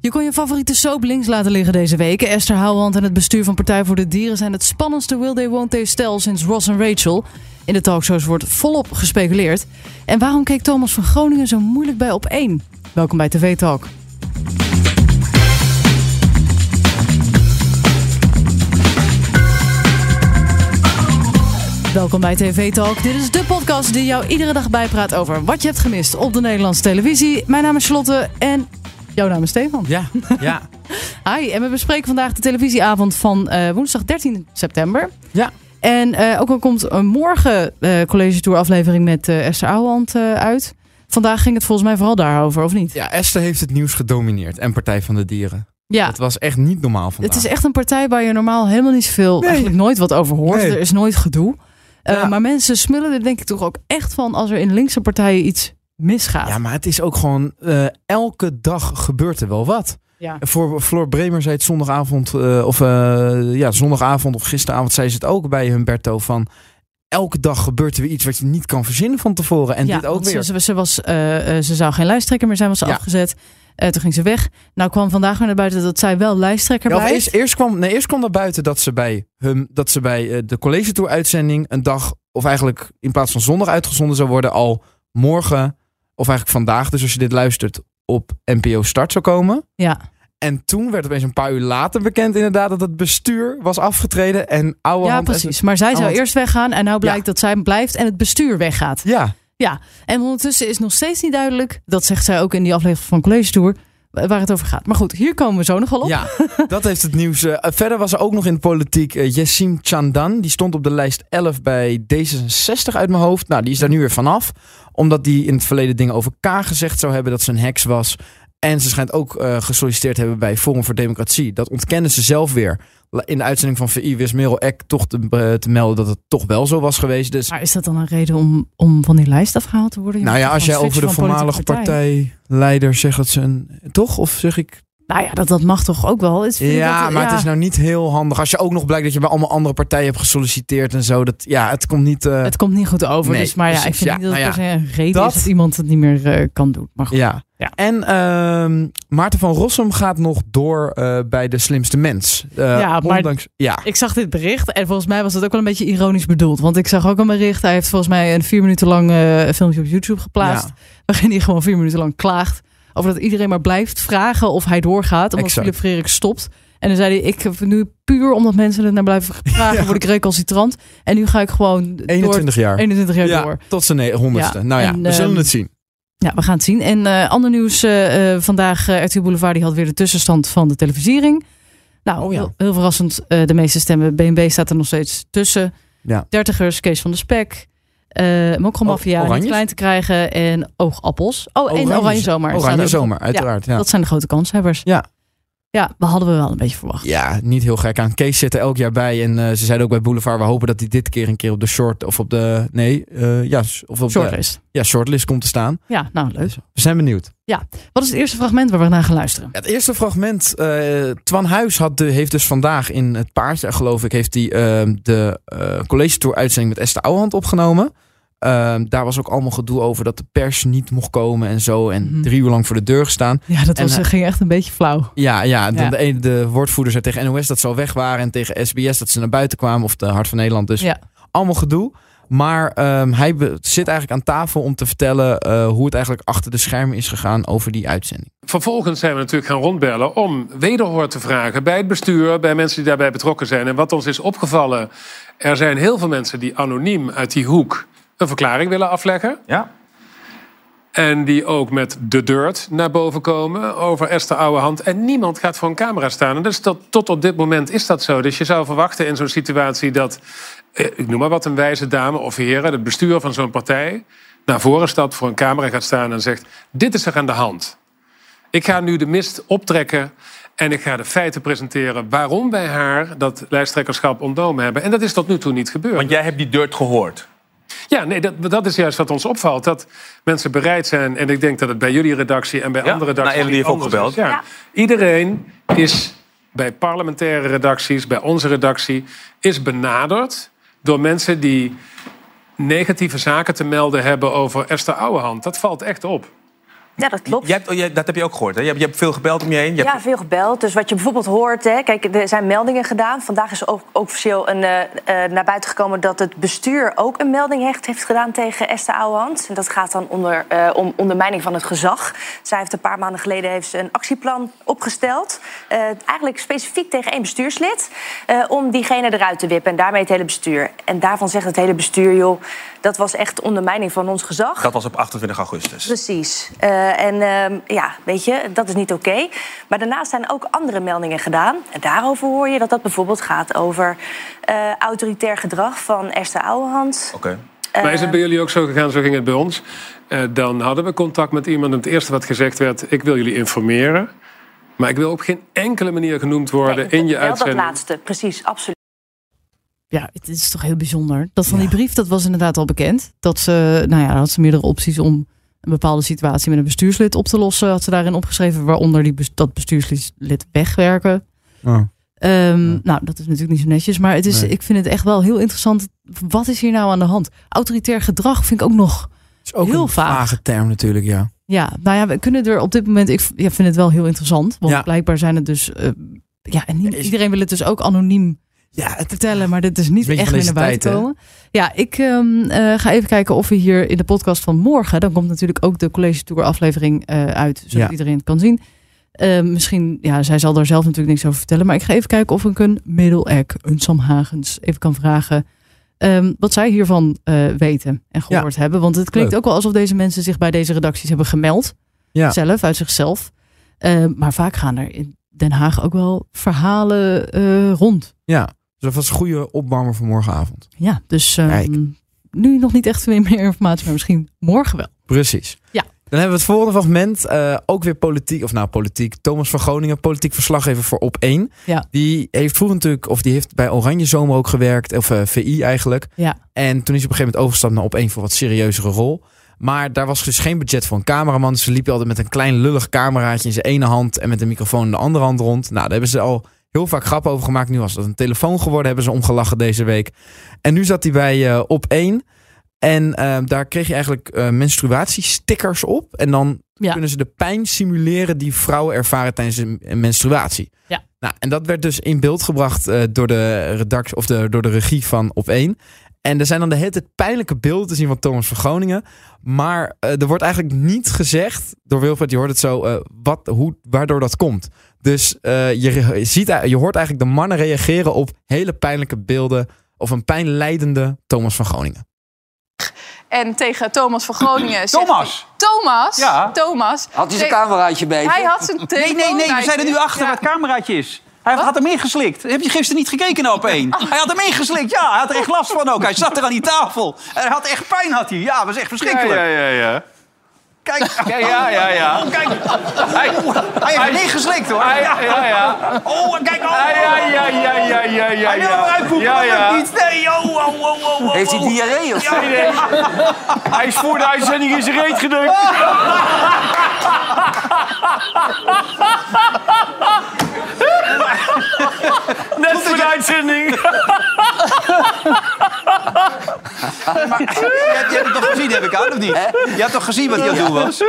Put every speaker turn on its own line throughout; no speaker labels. Je kon je favoriete soap links laten liggen deze week. Esther Houwand en het bestuur van Partij voor de Dieren zijn het spannendste Will They Won't They stel sinds Ross en Rachel. In de talkshows wordt volop gespeculeerd. En waarom keek Thomas van Groningen zo moeilijk bij op één? Welkom bij TV Talk. Welkom bij TV Talk. Dit is de podcast die jou iedere dag bijpraat over wat je hebt gemist op de Nederlandse televisie. Mijn naam is Charlotte en jouw naam is Stefan.
Ja, ja,
Hi, en we bespreken vandaag de televisieavond van eh, woensdag 13 september.
ja.
En eh, ook al komt een morgen eh College Tour aflevering met eh, Esther Ouwehand eh, uit. Vandaag ging het volgens mij vooral daarover, of niet?
Ja, Esther heeft het nieuws gedomineerd en Partij van de Dieren.
Ja,
Het was echt niet normaal vandaag.
het is echt een partij waar je normaal helemaal niet zoveel,
Nee.
eigenlijk nooit wat over hoort.
Nee.
Er is nooit gedoe. Eh,
Ja.
Maar mensen smullen er denk ik toch ook echt van als er in linkse partijen iets misgaat.
Ja, maar het is ook gewoon, eh, elke dag gebeurt er wel wat.
Ja.
Voor Floor Bremer zei het zondagavond, eh, of eh, ja, zondagavond of gisteravond zei ze het ook bij Humberto van... Elke dag gebeurt er weer iets wat je niet kan verzinnen van tevoren. En
Ja,
dit ook
want ze-
weer.
Ze, ze, was, eh, eh, ze zou geen lijsttrekker meer zijn, was ze
Ja.
afgezet. Eh, toen ging ze weg. Nou kwam vandaag weer naar buiten dat zij wel lijsttrekker
Ja, of
blijft.
eerst, eerst, kwam, nee, eerst kwam naar buiten dat ze bij, hem, dat ze bij eh, de college tour uitzending een dag, of eigenlijk in plaats van zondag uitgezonden zou worden, al morgen, of eigenlijk vandaag, dus als je dit luistert, op NPO Start zou komen.
Ja.
En toen werd opeens een paar uur later bekend inderdaad dat het bestuur was afgetreden en oude
ja,
hand-
precies. Maar zij zou
want-
eerst weggaan en nou blijkt dat zij blijft en het bestuur weggaat.
Ja,
En ondertussen is nog steeds niet duidelijk, dat zegt zij ook in die aflevering van College Tour, wa- waar het over gaat. Maar goed, hier komen we zo nogal op.
ja, dat heeft het nieuws. eh, verder was er ook nog in de politiek eh Yassim Chandan. Die stond op de lijst 11 bij D66 uit mijn hoofd. Nou, die is daar nu weer vanaf. Omdat die in het verleden dingen over K gezegd zou hebben dat ze een heks was. En ze schijnt ook eh, gesolliciteerd te hebben bij Forum voor Democratie. Dat ontkennen ze zelf weer. La- In de uitzending van VI wist Merel Eck toch te, eh, te melden dat het toch wel zo was geweest. Dus
Maar is dat dan een reden om, om van die lijst afgehaald te worden? Je
nou
moet
ja,
toch
als jij
gewoon
over de
switchen van
voormalige
politieke partij.
partijleider zegt dat ze een... Toch? Of zeg ik
Nou ja, dat, dat mag toch ook wel. Het- vind ik
Ja,
dat-
maar
ja.
het is nou niet heel handig. Als je ook nog blijkt dat je bij allemaal andere partijen hebt gesolliciteerd en zo. Dat, ja, het komt niet... eh,
Het komt niet goed over.
Nee,
dus, maar ja, ik
precies.
vind
Ja,
niet dat het
nou
per se een reden is
dat-
dat iemand het niet meer eh, kan doen. Maar goed.
ja.
Ja.
En ehm, Maarten van Rossum gaat nog door eh, bij de slimste mens. Eh,
Ja, maar-
ondanks, ja.
Ik zag dit bericht en volgens mij was dat ook wel een beetje ironisch bedoeld. Want ik zag ook een bericht. Hij heeft volgens mij een vier minuten lang eh, filmpje op YouTube geplaatst.
Ja.
Waarin hij gewoon vier minuten lang klaagt. Over dat iedereen maar blijft vragen of hij doorgaat. Omdat
Exact.
Philip Frerik stopt. En dan zei hij, ik heb nu puur omdat mensen het naar blijven vragen,
Ja.
word ik recalcitrant. En nu ga ik gewoon door
21 jaar.
21 jaar door.
Ja, tot zijn ne- honderdste.
Ja.
Nou ja,
En,
we zullen
ehm,
het zien.
Ja, we gaan het zien. En eh, ander nieuws eh, eh, vandaag, eh RTL Boulevard die had weer de tussenstand van de televisiering. Nou,
Oh ja.
heel, heel verrassend, eh, de meeste stemmen. BNB staat er nog steeds tussen.
Ja. Oh,
Dertigers, Kees van de Spek, eh Mokromafia, niet
Oranjes?
klein te krijgen en Oogappels. Oh, en
Oranjes.
Oranje Zomer. staat
Oranje
ook.
zomer, uiteraard. Ja.
Dat zijn de grote kanshebbers.
Ja.
Ja, we hadden we wel een beetje verwacht.
Ja, niet heel gek aan. Kees zit er elk jaar bij. En eh, ze zeiden ook bij Boulevard, we hopen dat hij dit keer een keer op de short... Of op de... Nee, eh, ja, of op
Short
de
is.
ja, shortlist komt te staan.
Ja, nou leuk.
We zijn benieuwd.
Wat is het eerste fragment waar we naar gaan luisteren?
Het eerste fragment. eh Twan Huis had de, heeft dus vandaag in het paard, eh, geloof ik, heeft hij ehm, de eh, college tour uitzending met Esther Ouwehand opgenomen. Ehm, daar was ook allemaal gedoe over dat de pers niet mocht komen en zo. En
Mhm.
drie uur lang voor de deur gestaan.
Ja, dat
En,
was,
eh,
ging echt een beetje flauw.
Ja, ja, dan
Ja.
De, ene- de woordvoerder zei tegen NOS dat ze al weg waren. En tegen SBS dat ze naar buiten kwamen. Of de Hart van Nederland. Dus
Ja.
allemaal gedoe. Maar ehm, hij be- zit eigenlijk aan tafel om te vertellen eh, hoe het eigenlijk achter de schermen is gegaan over die uitzending.
Vervolgens zijn we natuurlijk gaan rondbellen om wederhoor te vragen bij het bestuur, bij mensen die daarbij betrokken zijn. En wat ons is opgevallen, er zijn heel veel mensen die anoniem uit die hoek een verklaring willen afleggen.
Ja.
En die ook met de dirt naar boven komen over Esther Ouwehand. En niemand gaat voor een camera staan. En dus dat, tot op dit moment is dat zo. Dus je zou verwachten in zo'n situatie dat, eh, ik noem maar wat, een wijze dame of heren, het bestuur van zo'n partij, naar voren stapt, voor een camera gaat staan en zegt: Dit is er aan de hand. Ik ga nu de mist optrekken en ik ga de feiten presenteren waarom wij haar dat lijsttrekkerschap ontnomen hebben. En dat is tot nu toe niet gebeurd.
Want jij hebt die dirt gehoord.
Ja, nee, dat, dat is juist wat ons opvalt. Dat mensen bereid zijn, en ik denk dat het bij jullie redactie en bij
Ja,
andere
nou,
redacties...
Emily heeft
niet anders
ook gebeld.
is. Ja. Iedereen is bij parlementaire redacties, bij onze redactie, is benaderd door mensen die negatieve zaken te melden hebben over Esther Ouwehand. Dat valt echt op.
Ja, dat klopt.
Je hebt, je- dat heb je ook gehoord, hè? Je hebt, je hebt veel gebeld om je heen. Je hebt-
Ja, veel gebeld. Dus wat je bijvoorbeeld hoort, hè, kijk, er zijn meldingen gedaan. Vandaag is ook ook officieel een, eh, eh, naar buiten gekomen dat het bestuur ook een melding heeft, heeft gedaan tegen Esther Ouwehand. En dat gaat dan onder, eh, om ondermijning van het gezag. Zij heeft een paar maanden geleden heeft ze een actieplan opgesteld. eh, eigenlijk specifiek tegen één bestuurslid. eh, om diegene eruit te wippen en daarmee het hele bestuur. En daarvan zegt het hele bestuur, joh, dat was echt ondermijning van ons gezag.
Dat was op 28 augustus.
Precies. Eh, en ehm, ja, weet je, dat is niet oké. Maar daarnaast zijn ook andere meldingen gedaan. En daarover hoor je dat dat bijvoorbeeld gaat over eh, autoritair gedrag van Esther Ouwehand.
Oké.
Maar is het
Eh.
bij jullie ook zo gegaan, zo ging het bij ons? Eh, dan hadden we contact met iemand en het eerste wat gezegd werd... ik wil jullie informeren, maar ik wil op geen enkele manier genoemd worden
Nee,
in je
wel dat
uitzending.
laatste, precies, absoluut.
Ja, het is toch heel bijzonder. Dat van die brief, dat was inderdaad al bekend. Dat ze, nou ja, had ze meerdere opties om een bepaalde situatie met een bestuurslid op te lossen. Had ze daarin opgeschreven, waaronder die, bes- dat bestuurslid wegwerken. Ehm, Nou, dat is natuurlijk niet zo netjes. Maar het is,
Nee.
ik vind het echt wel heel interessant. Wat is hier nou aan de hand? Autoritair gedrag vind ik ook nog...
is ook
Heel
een
vaag.
vage term natuurlijk, ja.
Ja, nou ja, we kunnen er op dit moment... Ik v- ja, vind het wel heel interessant. Want
Ja.
blijkbaar zijn het dus... eh, ja, en niet-
Is-
iedereen wil het dus ook anoniem
Ja, het,
vertellen, maar dit is niet
Een beetje
echt meer
van deze
naar buiten
tijd, hè?
komen. Ja, ik ehm, eh, ga even kijken of we hier in de podcast van morgen, dan komt natuurlijk ook de college tour aflevering eh, uit, zodat
Ja.
iedereen het kan zien. Eh, misschien, ja, zij zal daar zelf natuurlijk niks over vertellen, maar ik ga even kijken of ik een middelek, een Sam Hagens, even kan vragen ehm, wat zij hiervan eh, weten en gehoord hebben. Want het klinkt
Leuk.
ook wel alsof deze mensen zich bij deze redacties hebben gemeld,
Ja.
zelf, uit zichzelf. Eh, maar vaak gaan er in Den Haag ook wel verhalen eh, rond.
ja. Dus dat was een goede opwarmer voor morgenavond.
Ja, dus ehm,
Kijk.
nu nog niet echt veel meer informatie, maar misschien morgen wel.
Precies.
Ja.
Dan hebben we het volgende fragment. eh, ook weer politiek, of nou politiek. Thomas van Groningen, politiek verslaggever voor Op1.
Ja.
Die heeft vroeger natuurlijk, of die heeft bij Oranje Zomer ook gewerkt. Of eh, VI eigenlijk.
Ja,
En toen is hij op een gegeven moment overgestapt naar op een voor wat serieuzere rol. Maar daar was dus geen budget voor een cameraman. Dus ze liepen altijd met een klein lullig cameraatje in zijn ene hand en met een microfoon in de andere hand rond. Nou, daar hebben ze al heel vaak grappen over gemaakt. Nu was dat een telefoon geworden, hebben ze omgelachen deze week. En nu zat hij bij eh op één. En eh, daar kreeg je eigenlijk eh, menstruatiestickers op. En dan
Ja.
kunnen ze de pijn simuleren die vrouwen ervaren tijdens hun menstruatie.
Ja.
Nou, en dat werd dus in beeld gebracht eh, door, de redactie, of de, door de regie van op één. En er zijn dan de hele tijd pijnlijke beelden te zien van Thomas van Groningen. Maar eh, er wordt eigenlijk niet gezegd door Wilfred, je hoort het zo, eh, wat, hoe, waardoor dat komt. Dus eh, je, re- ziet, je hoort eigenlijk de mannen reageren op hele pijnlijke beelden of een pijnlijdende Thomas van Groningen.
En tegen Thomas van Groningen zegt
Thomas!
hij- Thomas!
Ja.
Thomas.
Had hij zijn
Ze-
cameraatje bezig?
Hij had zijn
Nee,
telefoon
nee, nee, we
bij
zijn er nu
zich.
achter
Ja.
waar het cameraatje is. Hij had hem ingeslikt. Heb je gisteren niet gekeken op één?
Oh.
Hij had hem ingeslikt, ja. Hij had er echt last van ook. Hij zat er aan die tafel. En hij had echt pijn, had hij. Ja, was echt verschrikkelijk.
Ja, ja, ja.
Kijk,
Ja, ja, ja. ja.
oh, kijk.
Hij,
Hij heeft hem ingeslikt, hoor.
hij, ja, ja.
Oh, kijk, oh.
Hij, ja, ja, ja, ja, ja, ja.
Hij wil hem eruit poepen,
Ja,
dat
ja.
lukt niet. Nee, oh, oh, oh, oh, oh.
Heeft hij
oh.
diarree of zo?
Nee, nee. Hij is voor de uitzending in zijn reet gedrukt. Net voor de uitzending.
Je hebt, je hebt het toch gezien, heb ik aan, of niet? Je hebt toch gezien wat hij aan het doen was?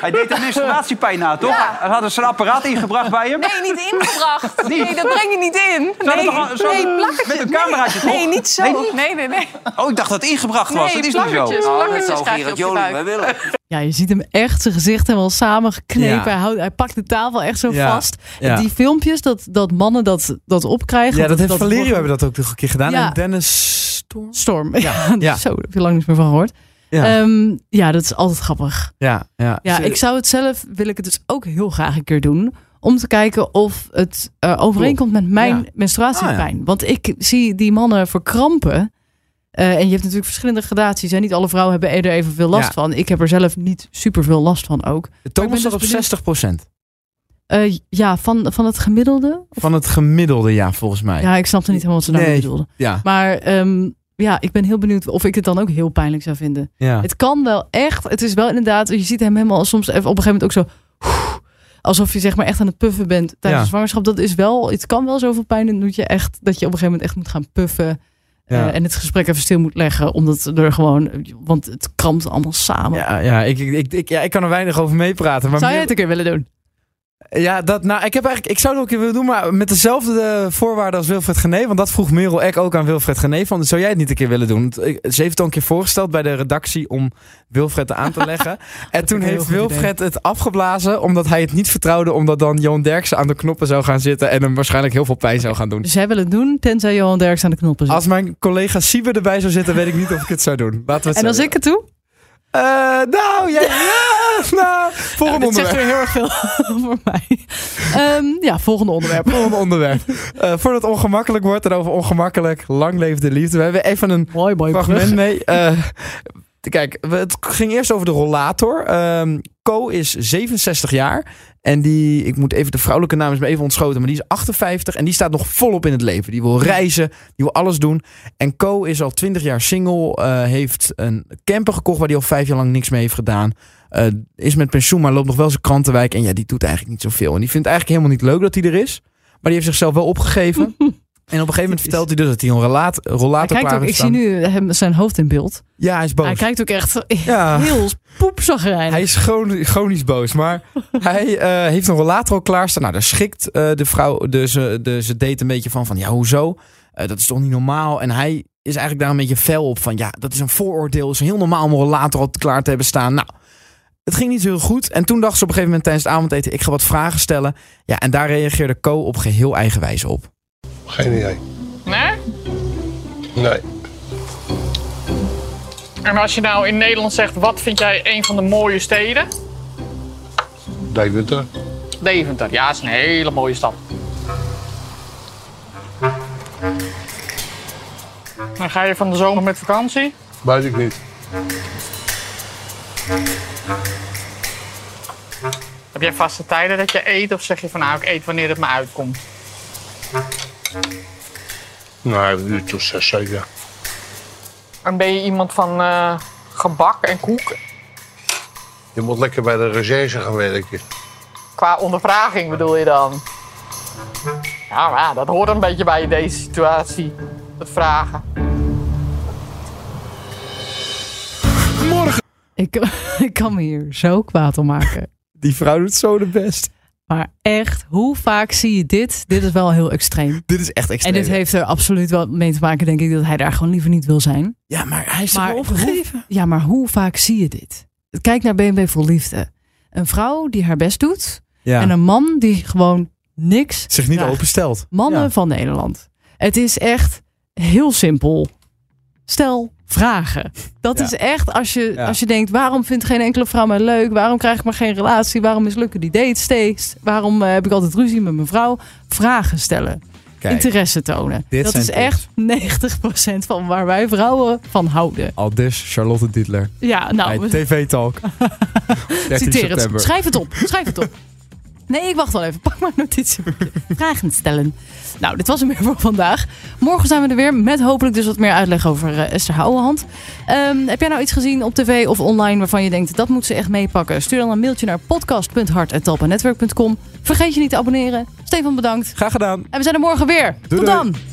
Hij deed een menstruatiepijn na, toch? Hij had er zo'n apparaat ingebracht bij hem.
Nee, niet ingebracht. Nee, dat breng je niet in.
Zou dat
Nee,
toch- zou-
nee plakkertjes.
Met een cameraatje,
Nee,
toch?
niet zo.
Nee,
Nee, nee, nee. Nee,
Oh, ik dacht dat het ingebracht was. dat is niet zo.
plakkertjes.
Nou, dat
plakkertjes
zou
krijg je
Gerard
op je
Joling
buik.
wel willen.
ja je ziet hem echt zijn gezicht helemaal samengeknepen. Hij,
Ja.
houdt, hij pakt de tafel echt zo
Ja,
vast.
ja.
Die filmpjes dat, dat mannen dat, dat opkrijgen.
Ja, dat heeft Valerio
wordt-
hebben dat ook nog een keer gedaan.
Ja.
En Dennis Storm.
Storm. Dus
Ja, ja.
Zo, daar heb je lang niets meer van gehoord.
Ja,
Ja, ja dat is altijd grappig.
ja, ja.
Ja,
Ze-
ik zou het zelf, wil ik het dus ook heel graag een keer doen. Om te kijken of het eh, overeenkomt met mijn
Ja.
menstruatiepijn. Want ik zie die mannen verkrampen. Eh, en je hebt natuurlijk verschillende gradaties. En niet alle vrouwen hebben er evenveel last
Ja.
van. Ik heb er zelf niet super veel last van ook.
Thomas zat
dus
op
benieuwd-
60 procent.
Eh, ja, van, van het gemiddelde.
Van het gemiddelde, ja, volgens mij. Ja.
Ja, ik snapte niet helemaal wat ze daarmee
Nee.
bedoelden.
Ja.
Maar ehm, ja, ik ben heel benieuwd of ik het dan ook heel pijnlijk zou vinden. Het kan wel echt. Het is wel inderdaad. Je ziet hem helemaal soms even op een gegeven moment ook zo. oeh, Alsof je zeg maar echt aan het puffen bent tijdens
Ja.
de zwangerschap. Dat is wel. Het kan wel zoveel pijn doen. Dat je echt dat je op een gegeven moment echt moet gaan puffen. Eh,
Ja.
eh, en het gesprek even stil moet leggen. Omdat er gewoon, want het krampt allemaal samen.
Ja, ja, ik, ik, ik- ik, ja, ik kan er weinig over meepraten. Maar
Zou jij het
meer-
een keer willen doen?
Ja, dat, nou, ik, heb eigenlijk, ik zou het ook een keer willen doen, maar met dezelfde eh, voorwaarden als Wilfred Gené. Want dat vroeg Merel Eck ook aan Wilfred Gené. Van, zou jij het niet een keer willen doen? Want, eh, Ze heeft het al een keer voorgesteld bij de redactie om Wilfred aan te leggen. en toen
een heel
heeft
goed idee.
Wilfred het afgeblazen, omdat hij het niet vertrouwde. Omdat dan Johan Derksen aan de knoppen zou gaan zitten en hem waarschijnlijk heel veel pijn zou gaan doen.
Dus jij wil het doen, tenzij Johan Derks aan de knoppen zit.
Als mijn collega Siebe erbij zou zitten, weet ik niet of ik het zou doen. Laten we het
en
zo
als
doen.
ik het doe?
Eh, nou, jij... ja, nou, volgende
dat zegt
onderwerp.
weer heel erg veel voor mij. Ehm, ja, volgende onderwerp.
Volgende onderwerp. Eh, voordat het ongemakkelijk wordt en over ongemakkelijk, lang leef de liefde. We hebben even een
Mooi, mooi.
fragment mee. Eh, kijk, we- het ging eerst over de rollator. Ehm Co is 67 jaar. En die, ik moet even de vrouwelijke naam is me even ontschoten, maar die is 58 en die staat nog volop in het leven. Die wil reizen, die wil alles doen. En Co is al 20 jaar single, eh, heeft een camper gekocht waar hij al vijf jaar lang niks mee heeft gedaan. Eh, is met pensioen, maar loopt nog wel zijn krantenwijk. En ja, die doet eigenlijk niet zoveel. En die vindt eigenlijk helemaal niet leuk dat hij er is. Maar die heeft zichzelf wel opgegeven. en op een gegeven moment vertelt hij dus dat hij een rela-
Hij
rollator
kijkt
klaar
ook,
heeft
ik
staan.
zie nu hem, zijn hoofd in beeld.
Ja, hij is boos.
Hij kijkt ook echt
Ja.
heel poepzagrijnig.
Hij is gewoon- chronisch boos, maar hij eh, heeft een rollator al klaarstaan. Nou, daar schikt eh, de vrouw, de, ze, de, ze date een beetje van, van ja, hoezo? Eh, dat is toch niet normaal? En hij is eigenlijk daar een beetje fel op van, ja, dat is een vooroordeel. Het is heel normaal om een rollator al klaar te hebben staan. Nou, het ging niet zo heel goed. En toen dacht ze op een gegeven moment tijdens het avondeten, ik ga wat vragen stellen. Ja, en daar reageerde Co op geheel eigenwijs op.
Geen idee.
Nee?
Nee.
En als je nou in Nederland zegt, wat vind jij een van de mooie steden?
Deventer.
Deventer, ja, is een hele mooie stad. Dan ga je van de zomer met vakantie.
Weet ik niet.
Heb jij vaste tijden dat je eet? Of zeg je van, nou, ik eet wanneer het me uitkomt?
Nee, een uurtje of zes, zeven.
En ben je iemand van eh, gebak en koek?
Je moet lekker bij de recherche gaan werken.
Qua ondervraging bedoel je dan? Ja, maar ja, dat hoort een beetje bij deze situatie. Het vragen.
Ik, ik kan me hier zo kwaad om maken.
Die vrouw doet zo de best.
Maar echt, hoe vaak zie je dit? Dit is wel heel extreem.
Dit is echt
En
extreem.
dit heeft er absoluut wel mee te maken, denk ik, dat hij daar gewoon liever niet wil zijn.
Ja, maar hij is
Maar
maar, opgegeven.
Ja, maar hoe vaak zie je dit? Kijk naar BNB voor Liefde. Een vrouw die haar best doet
Ja.
en een man die gewoon niks
zich niet
vraagt.
openstelt.
Mannen
Ja.
van Nederland. Het is echt heel simpel. Stel vragen. Dat
Ja.
is echt als je,
Ja.
als je denkt: waarom vindt geen enkele vrouw mij leuk? Waarom krijg ik maar geen relatie? Waarom mislukken die dates steeds? Waarom eh, heb ik altijd ruzie met mijn vrouw? Vragen stellen.
Kijk,
Interesse tonen.
dit
dat
zijn
is echt 90% van waar wij vrouwen van houden.
al dus Charlotte Dietler.
Ja, nou,
bij
we-
TV Talk. 13
Citeer het.
september.
Schrijf het op. Schrijf het op. Nee, ik wacht wel even. Pak maar een notitieboekje. Vragen stellen. Nou, dit was hem weer voor vandaag. Morgen zijn we er weer met hopelijk dus wat meer uitleg over eh, Esther Houwehand. Ehm, heb jij nou iets gezien op tv of online waarvan je denkt dat moet ze echt meepakken? Stuur dan een mailtje naar podcast.hart.talpanetwerk.com. Vergeet je niet te abonneren. Stefan bedankt.
Graag gedaan.
En we zijn er morgen weer. Tot
doei.
dan.